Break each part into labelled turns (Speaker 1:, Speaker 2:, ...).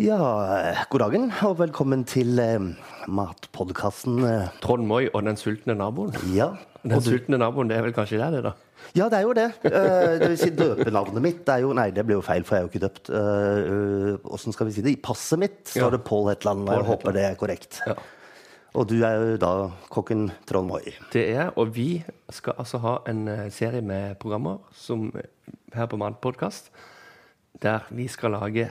Speaker 1: Ja, eh, god dagen og velkommen til eh, matpodkasten. eh.
Speaker 2: Trond Moi og den sultne naboen.
Speaker 1: Ja.
Speaker 2: Den sultne naboen, det er vel kanskje der, det, da?
Speaker 1: ja, det er jo det. Eh, Det vil si døpenavnet mitt er jo Nei, det ble jo feil, for jeg er jo ikke døpt. Eh, Åssen skal vi si det? I passet mitt
Speaker 2: Ja.
Speaker 1: står det Pål Hetland, og jeg
Speaker 2: Paul
Speaker 1: håper det er korrekt.
Speaker 2: Ja.
Speaker 1: Og du er jo da kokken Trond Moi.
Speaker 2: Det er, og vi skal altså ha en eh, serie med programmer som eh, her på Matpodkast, der vi skal lage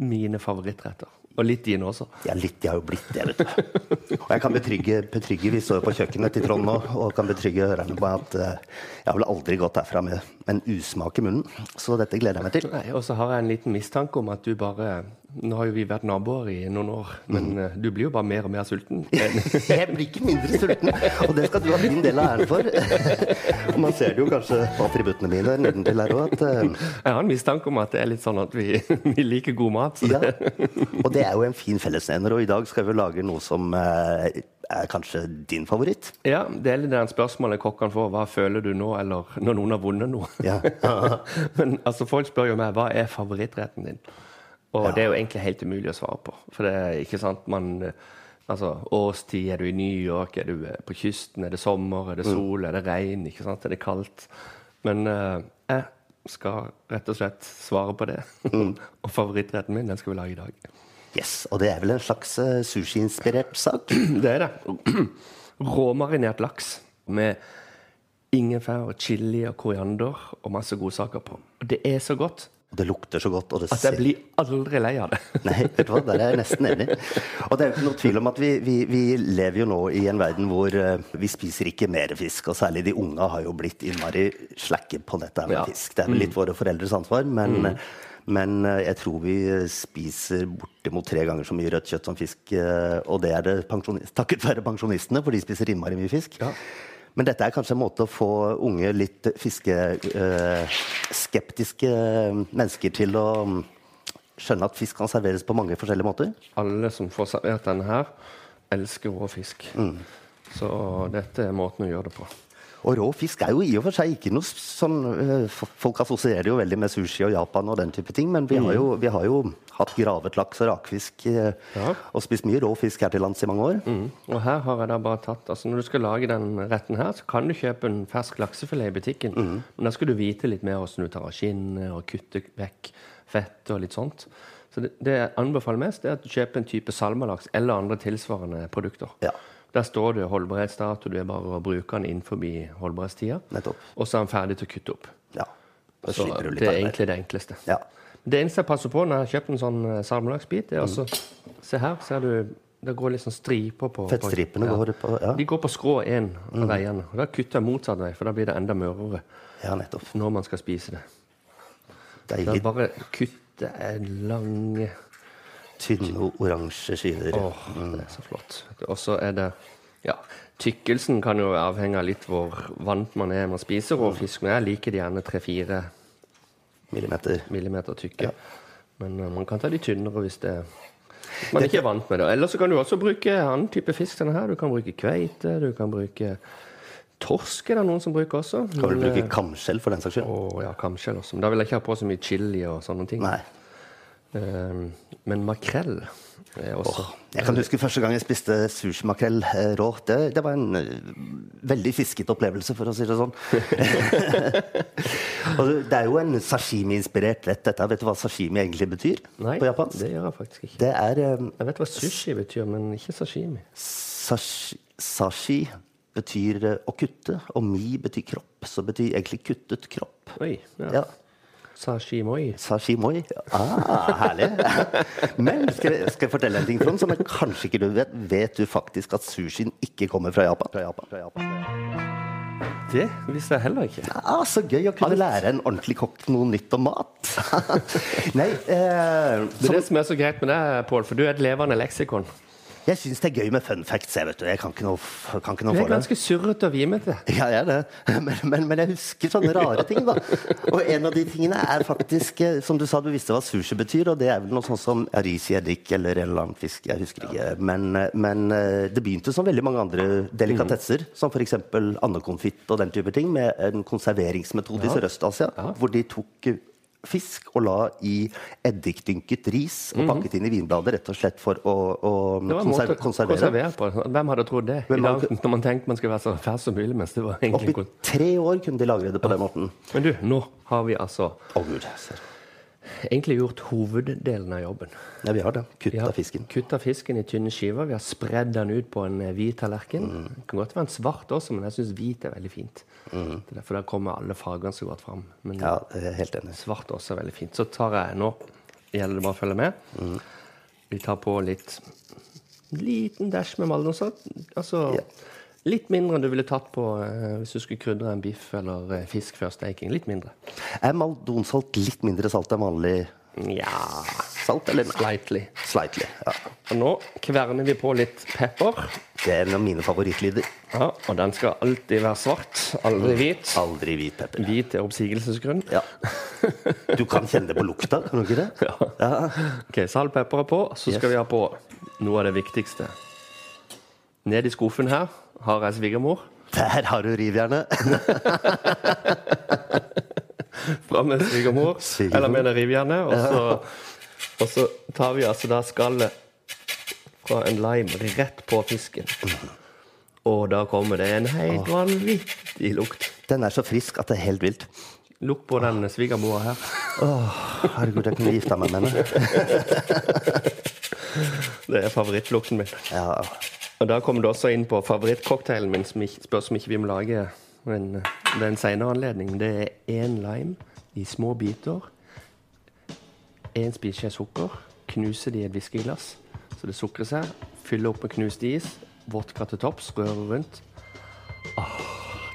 Speaker 2: mine favorittretter. Og litt dine også.
Speaker 1: Ja, litt. Jeg har jo blitt det, vet du. Og jeg kan betrygge, betrygge Vi står jo på kjøkkenet til Trond nå, og kan betrygge hørerne på at eh, jeg har vel aldri gått herfra med en usmak i munnen. Så dette gleder jeg meg til.
Speaker 2: Nei, Og så har jeg en liten mistanke om at du bare Nå har jo vi vært naboer i noen år, men eh, du blir jo bare mer og mer sulten.
Speaker 1: Jeg blir ikke mindre sulten, og det skal du ha din del av æren for. Og man ser det jo kanskje på attributtene mine nedentil her òg, at eh,
Speaker 2: Jeg har en mistanke om at det er litt sånn at vi, vi liker god mat. Så
Speaker 1: Ja.
Speaker 2: det,
Speaker 1: Og det er jo en fin fellesnevner, og i dag skal vi jo lage noe som eh, er kanskje din favoritt.
Speaker 2: Ja, det er litt det spørsmålet kokkene får. Hva føler du nå, eller når noen har vunnet noe?
Speaker 1: Ja.
Speaker 2: Men altså, folk spør jo meg hva er favorittretten din? Og det er jo egentlig helt umulig å svare på. For det er ikke sant man eh, Altså, årstid, er du i New York, er du eh, på kysten, er det sommer, er det sol, er det regn, ikke sant? Er det kaldt? Men eh, jeg skal rett og slett svare på det. og favorittretten min, den skal vi lage i dag.
Speaker 1: Yes, Og det er vel en slags eh, sushiinspirert sak?
Speaker 2: Det er det. Råmarinert laks med ingefær og chili og koriander og masse godsaker på. Og det er så godt
Speaker 1: Og det lukter så godt, og det
Speaker 2: at jeg blir aldri lei av det.
Speaker 1: Nei, vet du hva, der er jeg nesten enig. Og det er jo ikke noe tvil om at vi, vi, vi lever jo nå i en verden hvor eh, vi spiser ikke mer fisk, og særlig de unge har jo blitt innmari slakke på dette her med
Speaker 2: Ja.
Speaker 1: fisk. Det er vel litt våre foreldres ansvar, men, men eh, jeg tror vi eh, spiser bortimot tre ganger så mye rødt kjøtt som fisk, eh, og det er det pensjonist, takket være pensjonistene, for de spiser innmari mye fisk.
Speaker 2: Ja.
Speaker 1: Men dette er kanskje en måte å få unge, litt fiskeskeptiske mennesker til å mm, skjønne at fisk kan serveres på mange forskjellige måter.
Speaker 2: Alle som får servert denne her, elsker rå fisk. Så dette er måten å gjøre det på.
Speaker 1: Og rå fisk er jo i og for seg ikke noe s- sånn eh, f- Folk assosierer jo veldig med sushi og Japan og den type ting, men vi har jo, vi har jo hatt gravet laks og rakfisk eh,
Speaker 2: Mm. Ja.
Speaker 1: og spist mye rå fisk her til lands i mange år.
Speaker 2: Mm. Og her har jeg da bare tatt Altså Når du skal lage den retten her, så kan du kjøpe en fersk laksefilet i butikken.
Speaker 1: Mhm.
Speaker 2: Men da skal du vite litt mer hvordan du tar av skinnet og kutter vekk fett og litt sånt. Så det, det jeg anbefaler mest, det er at du kjøper en type salmalaks eller andre tilsvarende produkter.
Speaker 1: Ja.
Speaker 2: Der står det holdbarhetsdato, du er bare å bruke den innenfor holdbarhetstida.
Speaker 1: Nettopp.
Speaker 2: Og så er den ferdig til å kutte opp.
Speaker 1: Ja. Da
Speaker 2: Så
Speaker 1: slipper du litt
Speaker 2: det er
Speaker 1: arbeid.
Speaker 2: egentlig det enkleste.
Speaker 1: Ja.
Speaker 2: Det eneste jeg passer på når jeg har kjøpt en sånn eh, salmelaksbit,
Speaker 1: Mhm.
Speaker 2: det er altså Se her, ser du Det går litt sånn striper på
Speaker 1: Fettstripene
Speaker 2: på,
Speaker 1: går på Ja, Mm.
Speaker 2: De går på skrå én av veiene. Og da kutter jeg motsatt vei, for da blir det enda mørere
Speaker 1: ja nettopp.
Speaker 2: når man skal spise det. Da
Speaker 1: Deilig
Speaker 2: bare kutter jeg lange
Speaker 1: tynne oransje skiver.
Speaker 2: Åh,
Speaker 1: Mm.
Speaker 2: det er så flott. Og så er det Ja, tykkelsen kan jo avhenge av litt hvor vant man er med å spise
Speaker 1: Mm.
Speaker 2: rå fisk, men jeg liker det gjerne tre-fire
Speaker 1: Millimeter.
Speaker 2: millimeter tykke. Men eh, man kan ta de tynnere hvis det hvis man ikke er vant med det. Eller så kan du også bruke annen type fisk. Denne her. Du kan bruke kveite, du kan bruke torsk. er det noen som bruker også.
Speaker 1: Kan vel
Speaker 2: Men,
Speaker 1: bruke
Speaker 2: eh,
Speaker 1: kamskjell for den saks skyld?
Speaker 2: å, ja, kamskjell også. Men da vil jeg ikke ha på så mye chili og sånne ting.
Speaker 1: Nei.
Speaker 2: Eh, men makrell er også
Speaker 1: Jeg kan huske første gang jeg spiste sushimakrell eh, rå. Det, det var en eh, veldig fiskete opplevelse, for å si det sånn. og det er jo en sashimi-inspirert rett, dette. Vet du hva sashimi egentlig betyr
Speaker 2: Nei,
Speaker 1: på japansk?
Speaker 2: det gjør jeg faktisk ikke.
Speaker 1: Det er eh,
Speaker 2: Jeg vet hva sushi betyr, men ikke sashimi.
Speaker 1: sash, Sashi betyr eh, å kutte, og mi betyr kropp. Så betyr egentlig kuttet kropp.
Speaker 2: Oi, ja.
Speaker 1: Ja.
Speaker 2: Sashimoi.
Speaker 1: Sashimoi. Ah, herlig. Men skal jeg, skal jeg fortelle en ting, Trond, som jeg kanskje ikke du vet? Vet du faktisk at sushien ikke kommer fra Japan? Fra Japan, fra Japan.
Speaker 2: Det visste jeg heller ikke.
Speaker 1: Ah, så gøy å kunne lære en ordentlig kokk noe nytt om mat. Nei, eh, som,
Speaker 2: Det er det Sånn som er så greit med deg, Pål, for du er et levende leksikon.
Speaker 1: jeg syns det er gøy med fun facts. Jeg, vet du. jeg kan ikke noe, f- kan ikke
Speaker 2: Du
Speaker 1: noe
Speaker 2: er
Speaker 1: for det.
Speaker 2: ganske surrete og vimete.
Speaker 1: Ja, jeg er det. Men, men, men jeg husker sånne rare ting, da. Og en av de tingene er faktisk, eh, som du sa, du visste hva sushi betyr, og det er vel noe sånt som arisi eddik eller en eller annen fisk, jeg husker ikke. Men, eh, men eh, det begynte som veldig mange andre delikatesser, som f.eks. andekonfitt og den type ting, med en konserveringsmetode i Sørøst-Asia, hvor de tok eh, fisk og la i eddikdynket ris og pakket inn i vinblader, rett og slett for å, å
Speaker 2: Det var en måte
Speaker 1: konser
Speaker 2: å
Speaker 1: konservere.
Speaker 2: konservere på. Hvem hadde trodd det?
Speaker 1: Hvem
Speaker 2: I dag,
Speaker 1: hadde-
Speaker 2: når man tenkte man skulle være så fersk som mulig. Mens det var egentlig
Speaker 1: Oppi
Speaker 2: kun...
Speaker 1: tre år kunne de lagre det på den måten.
Speaker 2: Men du, nå har vi altså
Speaker 1: Å gud, ser.
Speaker 2: egentlig gjort hoveddelen av jobben.
Speaker 1: Ja, vi har det.
Speaker 2: Vi
Speaker 1: Kutta
Speaker 2: har
Speaker 1: fisken.
Speaker 2: kutta fisken i tynne skiver. Vi har spredd den ut på en eh, hvit tallerken.
Speaker 1: Mm.
Speaker 2: Det kan godt være en svart også, men jeg syns hvit er veldig fint. Det er derfor der kommer alle fargene så godt fram. Men
Speaker 1: Mm. Ja, jeg er helt enig.
Speaker 2: svart også er veldig fint. Så tar jeg nå Gjelder det bare å følge med.
Speaker 1: Mm.
Speaker 2: Vi tar på litt en liten dash med maldonsalt. Altså
Speaker 1: Ja.
Speaker 2: litt mindre enn du ville tatt på eh, hvis du skulle krydre en biff eller eh, fisk før steking. Litt mindre.
Speaker 1: Er maldonsalt litt mindre salt enn vanlig
Speaker 2: Ja
Speaker 1: salt? Eller nei?
Speaker 2: Slightly.
Speaker 1: Slightly. Ja.
Speaker 2: Og nå kverner vi på litt pepper.
Speaker 1: Det er en av mine favorittlyder.
Speaker 2: Ja, og den skal alltid være svart, aldri hvit.
Speaker 1: Aldri hvit pepper.
Speaker 2: Hvit er oppsigelsesgrunn.
Speaker 1: Ja. Du kan kjenne det på lukta, kan du ikke det?
Speaker 2: Ok, Salt, pepper er på. Så skal
Speaker 1: Yes.
Speaker 2: vi ha på noe av det viktigste. Ned i skuffen her har jeg svigermor.
Speaker 1: Der har du rivjernet.
Speaker 2: Fram med svigermor,
Speaker 1: Svigermor.
Speaker 2: eller med det rivjernet. Og så, og så tar vi altså da skallet fra en lime rett på fisken. Og da kommer det en helt vanvittig lukt.
Speaker 1: Den er så frisk at det er helt vilt.
Speaker 2: Lukt på den svigermora her.
Speaker 1: Herregud, jeg kunne gifta meg med henne.
Speaker 2: Det er favorittlukten min.
Speaker 1: Ja.
Speaker 2: Og da kommer du også inn på favorittcocktailen min, som ikke, spørs om ikke vi må lage men det er en senere anledning. Det er én lime i små biter, én spiseskje sukker, knuse det i et whiskyglass, så det sukrer seg, fylle opp med knust is, vodka til topps, røre rundt. Ah,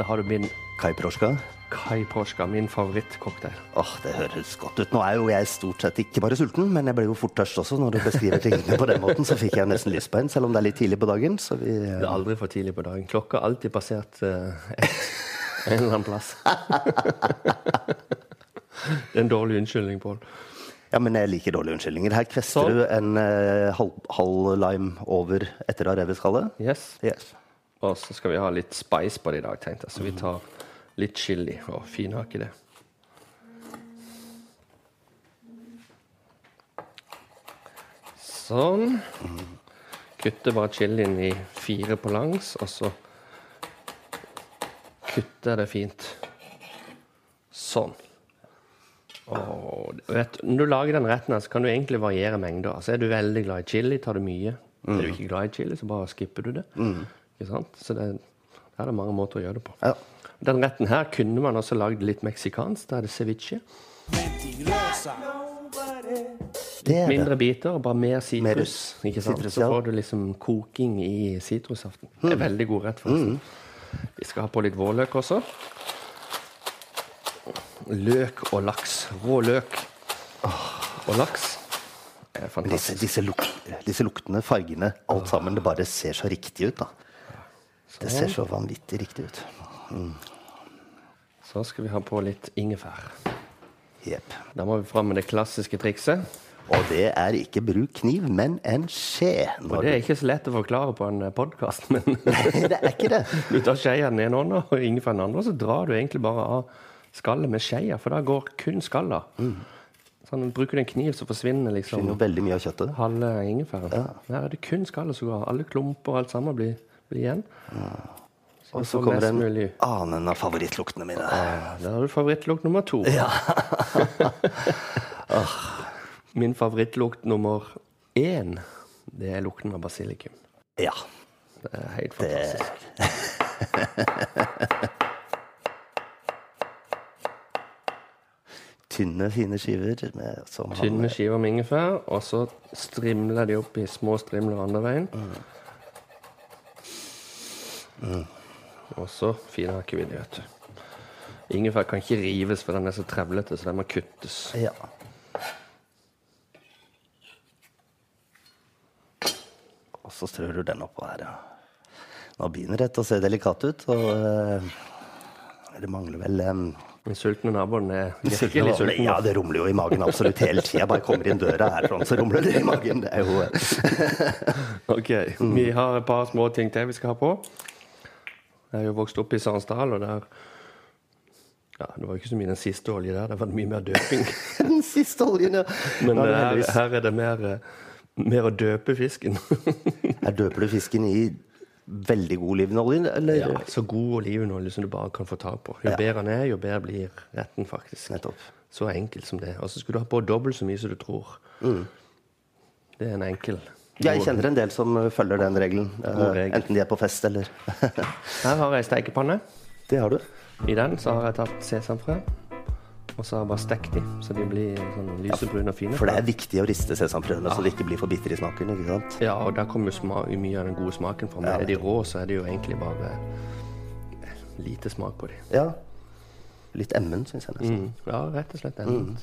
Speaker 2: da har du min
Speaker 1: Kai Proska.
Speaker 2: Kai Porska, min favorittcocktail.
Speaker 1: Åh, Det høres godt ut. Nå er jo jeg stort sett ikke bare sulten, men jeg ble jo fort tørst også. Når du beskriver tingene på den måten, så fikk jeg nesten lyst på en, selv om det er litt tidlig på dagen. Så vi
Speaker 2: Det er aldri for tidlig på dagen. Klokka er alltid passert eh, en eller annen plass. det er en dårlig unnskyldning, Pål.
Speaker 1: Ja, men jeg liker dårlige unnskyldninger. Her kvester
Speaker 2: Sånn.
Speaker 1: du en eh, halv, halv lime over etter å ha revet skallet.
Speaker 2: Yes.
Speaker 1: Yes.
Speaker 2: Og så skal vi ha litt spice på det i dag, tenkte jeg. Så vi tar litt chili og finhaker det. Sånn. Kutter bare chilien i fire på langs, og så kutter jeg det fint. Sånn. Og vet, du, når du lager den retten, her, så kan du egentlig variere mengder. Altså, er du veldig glad i chili, tar du mye. Er du ikke glad i chili, så bare skipper du det. Ikke sant? Så det, der er det mange måter å gjøre det på.
Speaker 1: Ja.
Speaker 2: Den retten her kunne man også lagd litt meksikansk. Da er det ceviche.
Speaker 1: Det er det.
Speaker 2: Mindre biter, og bare mer sitrus.
Speaker 1: Mer
Speaker 2: Ikke sant?
Speaker 1: sitrus,
Speaker 2: Så
Speaker 1: ja.
Speaker 2: får du liksom koking i sitrusaften. Det er veldig god rett, forresten. Vi skal ha på litt vårløk også. Løk og laks. Rå løk og laks. Det er
Speaker 1: Disse,
Speaker 2: fantastisk.
Speaker 1: disse, luk, disse luktene, fargene, alt sammen. Det bare ser så riktig ut, da.
Speaker 2: Sånn.
Speaker 1: Det ser så vanvittig riktig ut.
Speaker 2: Så skal vi ha på litt ingefær.
Speaker 1: Jepp.
Speaker 2: Da må vi fram med det klassiske trikset.
Speaker 1: Og det er ikke bruk kniv, men en skje.
Speaker 2: Og
Speaker 1: Når
Speaker 2: det er ikke så lett å forklare på en podkast, men
Speaker 1: du... det er ikke det.
Speaker 2: du tar skeia i den ene hånda og ingefær i den andre, og så drar du egentlig bare av skallet med skeia, for da går kun skallet. Sånn, bruker du en kniv, så
Speaker 1: Det
Speaker 2: forsvinner
Speaker 1: er
Speaker 2: liksom
Speaker 1: jo veldig mye av kjøttet.
Speaker 2: halve ingefæren. Her er det kun skallet som går av. Alle klumper og alt sammen blir, blir igjen.
Speaker 1: Og
Speaker 2: Så
Speaker 1: så
Speaker 2: får
Speaker 1: kommer
Speaker 2: mest
Speaker 1: en
Speaker 2: mulig.
Speaker 1: annen av favorittluktene mine.
Speaker 2: Ja, Der har du favorittlukt nummer to. Min favorittlukt nummer én, det er lukten av basilikum.
Speaker 1: Ja.
Speaker 2: Det er helt fantastisk.
Speaker 1: Tynne, fine skiver. Med, som har-
Speaker 2: Tynne skiver med ingefær, og så strimler de opp i små strimler andre veien. Og så finhakker vi de, vet du. Ingefær kan ikke rives, for den er så trevlete, så den må kuttes.
Speaker 1: Ja. Og så strør du den oppå her, ja. Nå begynner dette å se delikat ut, og eh, det mangler vel em,
Speaker 2: Den sultne naboen er virkelig
Speaker 1: sulten-
Speaker 2: sulten.
Speaker 1: Ja, det rumler jo i magen absolutt hele tida. Bare kommer inn døra her, sånn, så rumler det i magen. Det er jo eh,
Speaker 2: Ok, Mm. Vi har et par små ting til vi skal ha på. Jeg er jo vokst opp i Sarensdal, og der Ja, det var jo ikke så mye den siste oljen der, det var mye mer døping.
Speaker 1: Den siste oljen, ja.
Speaker 2: Men
Speaker 1: Da er
Speaker 2: eh,
Speaker 1: det
Speaker 2: her,
Speaker 1: heldigvis-
Speaker 2: her er det mer, eh, mer å døpe fisken.
Speaker 1: Her døper du fisken i veldig god olivenolje, eller?
Speaker 2: ja, så god olivenolje som du bare kan få tak på. Jo bedre den er, jo bedre blir retten, faktisk.
Speaker 1: Nettopp.
Speaker 2: Så enkelt som det. Og så skal du ha på dobbelt så mye som du tror.
Speaker 1: Mm.
Speaker 2: Det er en enkel
Speaker 1: Jeg kjenner en del som eh, følger den regelen. eh,
Speaker 2: God regel.
Speaker 1: Enten de er på fest eller
Speaker 2: Her har jeg stekepanne.
Speaker 1: Det har du.
Speaker 2: I den så har jeg tatt sesamfrø. Og så har jeg bare stekt de, så de blir sånn lysebrune og fine.
Speaker 1: For det er viktig å riste sesamfrøene så de ikke blir for bitre i smaken. ikke sant?
Speaker 2: Ja, og der kommer jo sma mye av den gode smaken fram. er de rå, så er det jo egentlig bare lite smak på de.
Speaker 1: Ja. Litt emmen, syns jeg nesten.
Speaker 2: Mm. Ja, rett og slett. Mm.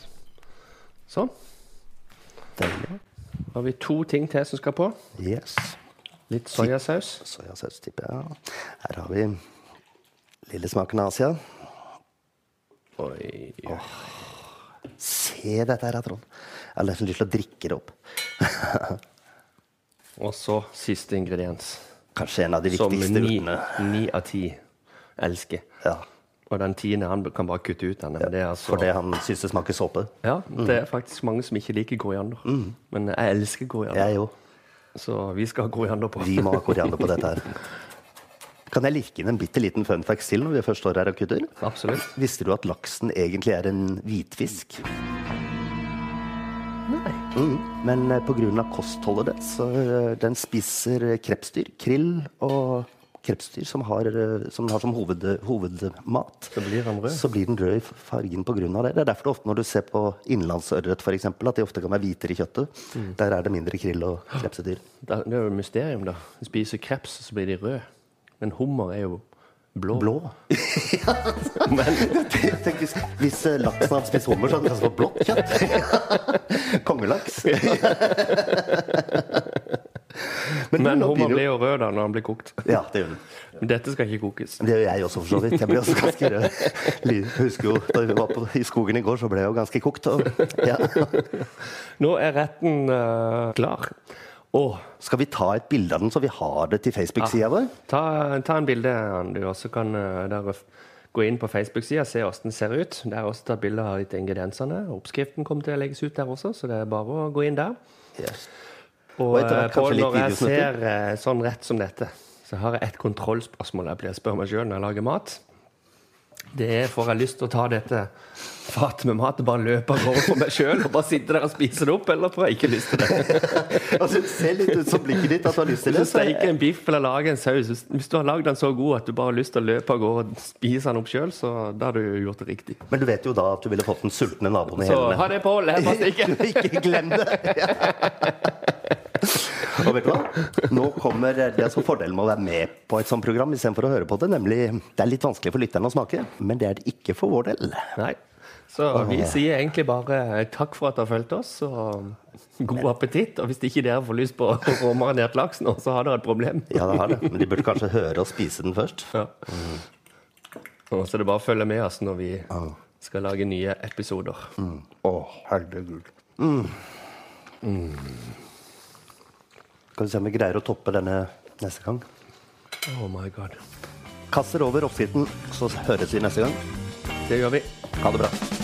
Speaker 2: Sånn. Mm.
Speaker 1: Deilig.
Speaker 2: Da har vi to ting til som skal på.
Speaker 1: Yes.
Speaker 2: Litt soyasaus.
Speaker 1: Soyasaus, tipper jeg. Her har vi lille smaken av Asia.
Speaker 2: Oi.
Speaker 1: Se dette her, Trond. Jeg har nesten lyst til å drikke det opp.
Speaker 2: Og så siste ingrediens.
Speaker 1: Kanskje en av de
Speaker 2: Som
Speaker 1: viktigste
Speaker 2: ni,
Speaker 1: urtene.
Speaker 2: ni av ti elsker.
Speaker 1: Ja.
Speaker 2: Og den tiende han kan bare kutte ut denne. Men det er altså
Speaker 1: For det Mm. han syns det smaker såpe.
Speaker 2: Ja, det er faktisk mange som ikke liker koriander. Men jeg elsker koriander,
Speaker 1: Mm. Jeg òg.
Speaker 2: så vi skal ha koriander på.
Speaker 1: Vi må ha koriander på dette her. Kan jeg lirke inn en bitte liten fun fact til når vi først står her og kutter?
Speaker 2: Absolutt.
Speaker 1: Visste du at laksen egentlig er en hvitfisk?
Speaker 2: Nei.
Speaker 1: Mm. Men eh, på grunn av kostholdet det, så eh, den spiser eh, krepsdyr, krill og krepsdyr som har eh, som, den har som hoved, hovedmat.
Speaker 2: Så blir han rød.
Speaker 1: Så blir den rød i fargen på grunn av det. Det er derfor det ofte når du ser på innlandsørret for eksempel, at de ofte kan være hvitere i kjøttet.
Speaker 2: Mm.
Speaker 1: Der er det mindre krill og krepsedyr.
Speaker 2: Da- Det er jo et mysterium, da. De spiser kreps, så blir de røde. Men hummer er jo blå.
Speaker 1: Blå. Tenk hvis, hvis eh, laksen hadde spist hummer, så hadde den kanskje fått blått kjøtt. Kongelaks. Men,
Speaker 2: Men
Speaker 1: nå
Speaker 2: hummer
Speaker 1: blir
Speaker 2: blir
Speaker 1: det jo
Speaker 2: jo rød da når den blir kokt.
Speaker 1: Ja, det gjør den.
Speaker 2: Men Dette skal ikke kokes.
Speaker 1: Det gjør jeg også, for så vidt. Jeg ble også ganske rød. Jeg husker jo, Da vi var på, i skogen i går, så ble jeg jo ganske kokt. Og, ja.
Speaker 2: Nå er retten eh, klar. Og
Speaker 1: Skal vi ta et bilde av den, så vi har det til Facebook-sida vår?
Speaker 2: ta, ta en bilde, Ann, du, og så kan eh, dere f- gå inn på Facebook-sida og se hvordan den ser ut. Der er også tatt bilde av litt ingrediensene. Oppskriften kommer til å legges ut der også, så det er bare å gå inn der.
Speaker 1: Yes.
Speaker 2: Og,
Speaker 1: Og etter hvert
Speaker 2: eh, Pål,
Speaker 1: kanskje litt
Speaker 2: når jeg
Speaker 1: videosnutter.
Speaker 2: ser eh, sånn rett som dette, så har jeg et kontrollspørsmål jeg blir spør meg sjøl når jeg lager mat. Det er får jeg lyst til å ta dette fatet med mat og bare løpe av gårde for meg sjøl og bare sitte der og spise det opp, eller får jeg ikke lyst til det?
Speaker 1: Altså, det ser litt ut som blikket ditt at du har lyst til
Speaker 2: Eller
Speaker 1: det. så-
Speaker 2: steike en biff eller lage en saus. Hvis- Hvis du har lagd den så god at du bare har lyst til å løpe av gårde og spise den opp sjøl, så da har du jo gjort det riktig.
Speaker 1: Men du vet jo da at du ville fått den sultne naboen i
Speaker 2: Så
Speaker 1: hælene.
Speaker 2: ha det, Pål. Her bare stikker.
Speaker 1: Ikke glem det! Og vet du hva? Nå kommer det som er altså fordelen med å være med på et sånt program istedenfor å høre på det, nemlig det er litt vanskelig for lytterne å smake, men det er det ikke for vår del.
Speaker 2: Nei. Så vi sier egentlig bare takk for at dere har fulgt oss, og god appetitt. Og hvis ikke dere får lyst på råmarinert laks nå, så har dere et problem.
Speaker 1: Ja, det har det, men de burde kanskje høre og spise den først.
Speaker 2: Ja. Mm. Og så er det bare å følge med oss når vi skal lage nye episoder.
Speaker 1: Å, herregud. Mm. Skal vi se om vi greier å toppe denne neste gang.
Speaker 2: Oh my god.
Speaker 1: Kasser over oppskriften, så høres vi neste gang.
Speaker 2: Det gjør vi.
Speaker 1: Ha det bra.